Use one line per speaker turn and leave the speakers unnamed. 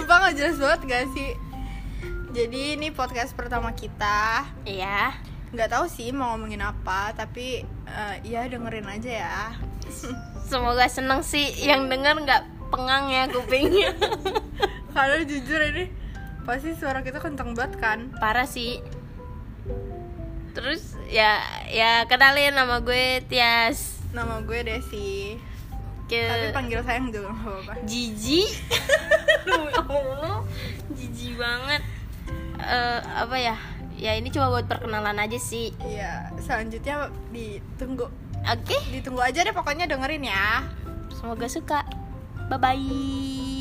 nggak jelas banget gak sih jadi ini podcast pertama kita
Iya.
nggak tahu sih mau ngomongin apa tapi eh, ya dengerin aja ya
Semoga seneng sih yang denger nggak pengang ya kupingnya.
karena jujur ini pasti suara kita kenceng banget kan
Parah sih. Terus ya ya kenalin nama gue Tias.
nama gue Desi tapi
Ke
panggil sayang juga nggak apa-apa
Jiji. Allah, Jiji banget. Eh, apa ya? Ya ini cuma buat perkenalan aja sih.
Iya, selanjutnya ditunggu
Oke,
ditunggu aja deh pokoknya dengerin ya
semoga suka. Bye bye.